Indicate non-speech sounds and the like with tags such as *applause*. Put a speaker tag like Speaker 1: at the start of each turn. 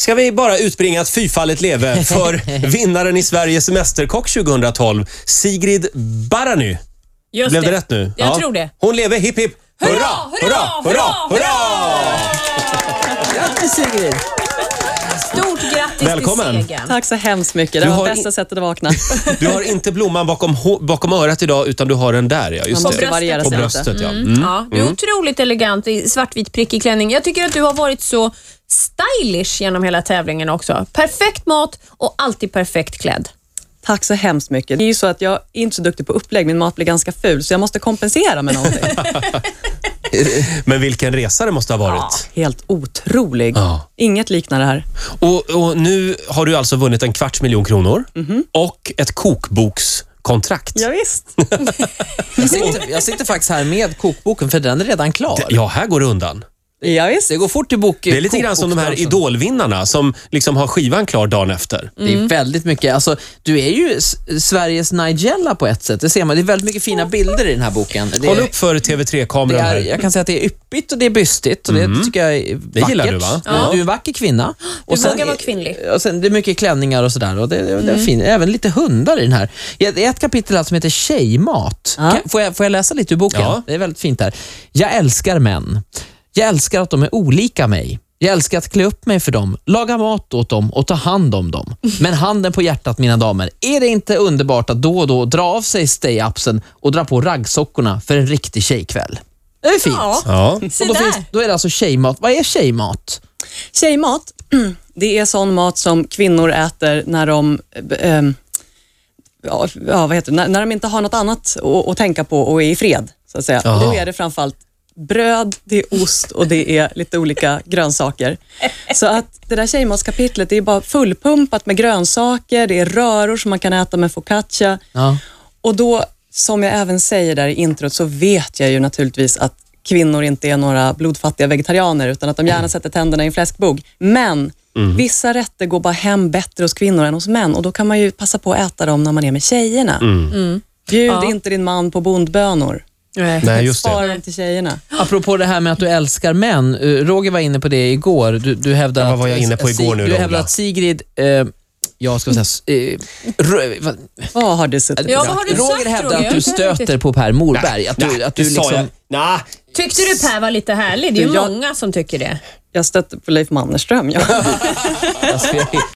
Speaker 1: ska vi bara utbringa ett fyfallet leve *laughs* för vinnaren i Sveriges Mästerkock 2012, Sigrid Barany.
Speaker 2: Just
Speaker 1: Blev det rätt nu?
Speaker 2: Jag tror det.
Speaker 1: Hon lever, hipp hipp. Hurra, hurra, hurra, hurra!
Speaker 3: Grattis Sigrid!
Speaker 2: Stort grattis
Speaker 1: Välkommen.
Speaker 2: till segern.
Speaker 3: Tack så hemskt mycket. Det
Speaker 1: Du
Speaker 3: var
Speaker 1: har
Speaker 3: bästa
Speaker 1: i-
Speaker 3: sättet att vakna.
Speaker 1: Du har inte blomman bakom, hå- bakom örat idag, utan du har den där. Ja, just
Speaker 3: Man måste
Speaker 1: det.
Speaker 3: variera
Speaker 1: På
Speaker 3: sig lite.
Speaker 1: bröstet, ja. Mm.
Speaker 2: Ja, du är otroligt elegant i svartvit prickig klänning. Jag tycker att du har varit så stylish genom hela tävlingen också. Perfekt mat och alltid perfekt klädd.
Speaker 3: Tack så hemskt mycket. Det är ju så att jag är inte så duktig på upplägg. Min mat blir ganska ful, så jag måste kompensera med någonting.
Speaker 1: Men vilken resa det måste ha varit.
Speaker 3: Helt otrolig.
Speaker 1: Ja.
Speaker 3: Inget liknar det här.
Speaker 1: Och, och Nu har du alltså vunnit en kvarts miljon kronor och ett kokbokskontrakt.
Speaker 3: Ja, visst.
Speaker 4: Jag sitter, jag sitter faktiskt här med kokboken för den är redan klar.
Speaker 1: Ja, här går det undan.
Speaker 3: Ja, visst.
Speaker 4: Det går fort i bok.
Speaker 1: Det är lite grann som de här idolvinnarna som liksom har skivan klar dagen efter.
Speaker 4: Det är väldigt mycket. Alltså, du är ju S- Sveriges Nigella på ett sätt. Det ser man. Det är väldigt mycket fina bilder i den här boken. Det
Speaker 1: Håll
Speaker 4: är,
Speaker 1: upp för
Speaker 4: Det
Speaker 1: TV3-kameran
Speaker 4: är,
Speaker 1: här. Mm.
Speaker 4: jag kan säga att det är yppigt och det är bystigt och det tycker jag är vackert.
Speaker 1: gillar du, va?
Speaker 4: Ja. Du är en vacker kvinna. Och
Speaker 2: Du vågar vara kvinnlig. Mm.
Speaker 4: Och sen, det är mycket klänningar och sådär. Och det, det, det är fint. Även lite hundar i den här. Det är ett kapitel här som heter Tjejmat.
Speaker 3: Ja.
Speaker 4: Kan, får, jag, får jag läsa lite ur boken?
Speaker 1: Ja.
Speaker 4: Det är väldigt fint här. Jag älskar män. Jag älskar att de är olika mig. Jag älskar att klä upp mig för dem, laga mat åt dem och ta hand om dem. Men handen på hjärtat mina damer, är det inte underbart att då och då dra av sig stay-upsen och dra på raggsockorna för en riktig tjejkväll? Det är fint.
Speaker 2: Ja,
Speaker 1: Ja.
Speaker 2: se
Speaker 4: Och då, finns,
Speaker 2: där.
Speaker 4: då är det alltså tjejmat. Vad är tjejmat?
Speaker 3: Tjejmat, *clears throat* det är sån mat som kvinnor äter när de eh, eh, Ja, ja, vad heter det? När, när de inte har något annat att, att tänka på och är i fred. Så att säga. Och
Speaker 1: Jaha.
Speaker 3: Då är det framförallt bröd, det är ost och det är lite olika grönsaker. Så att det där tjejmatskapitlet, det är bara fullpumpat med grönsaker, det är röror som man kan äta med focaccia.
Speaker 4: Ja.
Speaker 3: Och då, som jag även säger där i introt, så vet jag ju naturligtvis att kvinnor inte är några blodfattiga vegetarianer, utan att de gärna sätter tänderna i en fläskbog. Men
Speaker 1: Mm.
Speaker 3: vissa rätter går bara hem bättre hos kvinnor än hos män och då kan man ju passa på att äta dem när man är med tjejerna.
Speaker 1: Mm.
Speaker 3: Bjud
Speaker 2: Mm. Ja.
Speaker 3: inte din man på bondbönor.
Speaker 1: Nej, just det.
Speaker 3: Spara dem till tjejerna.
Speaker 4: Apropå det här med att du älskar män. eh, Roger var inne på det igår. Du, du hävdar
Speaker 1: Ja, vad var jag
Speaker 4: att,
Speaker 1: inne på
Speaker 4: Sig-
Speaker 1: igår nu,
Speaker 4: Du
Speaker 1: Roger?
Speaker 4: hävdar att Sigrid, eh, ja ska vi säga, eh, rö- vad-
Speaker 3: Vad har det suttit
Speaker 2: Ja, vad har du
Speaker 4: Roger
Speaker 2: sagt,
Speaker 4: hävdar
Speaker 2: Roger?
Speaker 4: att du stöter på Per Morberg. Att du,
Speaker 1: Nej,
Speaker 4: att du
Speaker 1: det sa jag.
Speaker 4: liksom,
Speaker 1: Nej,
Speaker 2: Tyckte du Per var lite härlig? Det är ju
Speaker 3: Jag-
Speaker 2: många som tycker det.
Speaker 1: *laughs*
Speaker 3: Jag stötte på Leif Mannerström. Ja.
Speaker 4: *laughs* alltså, jag,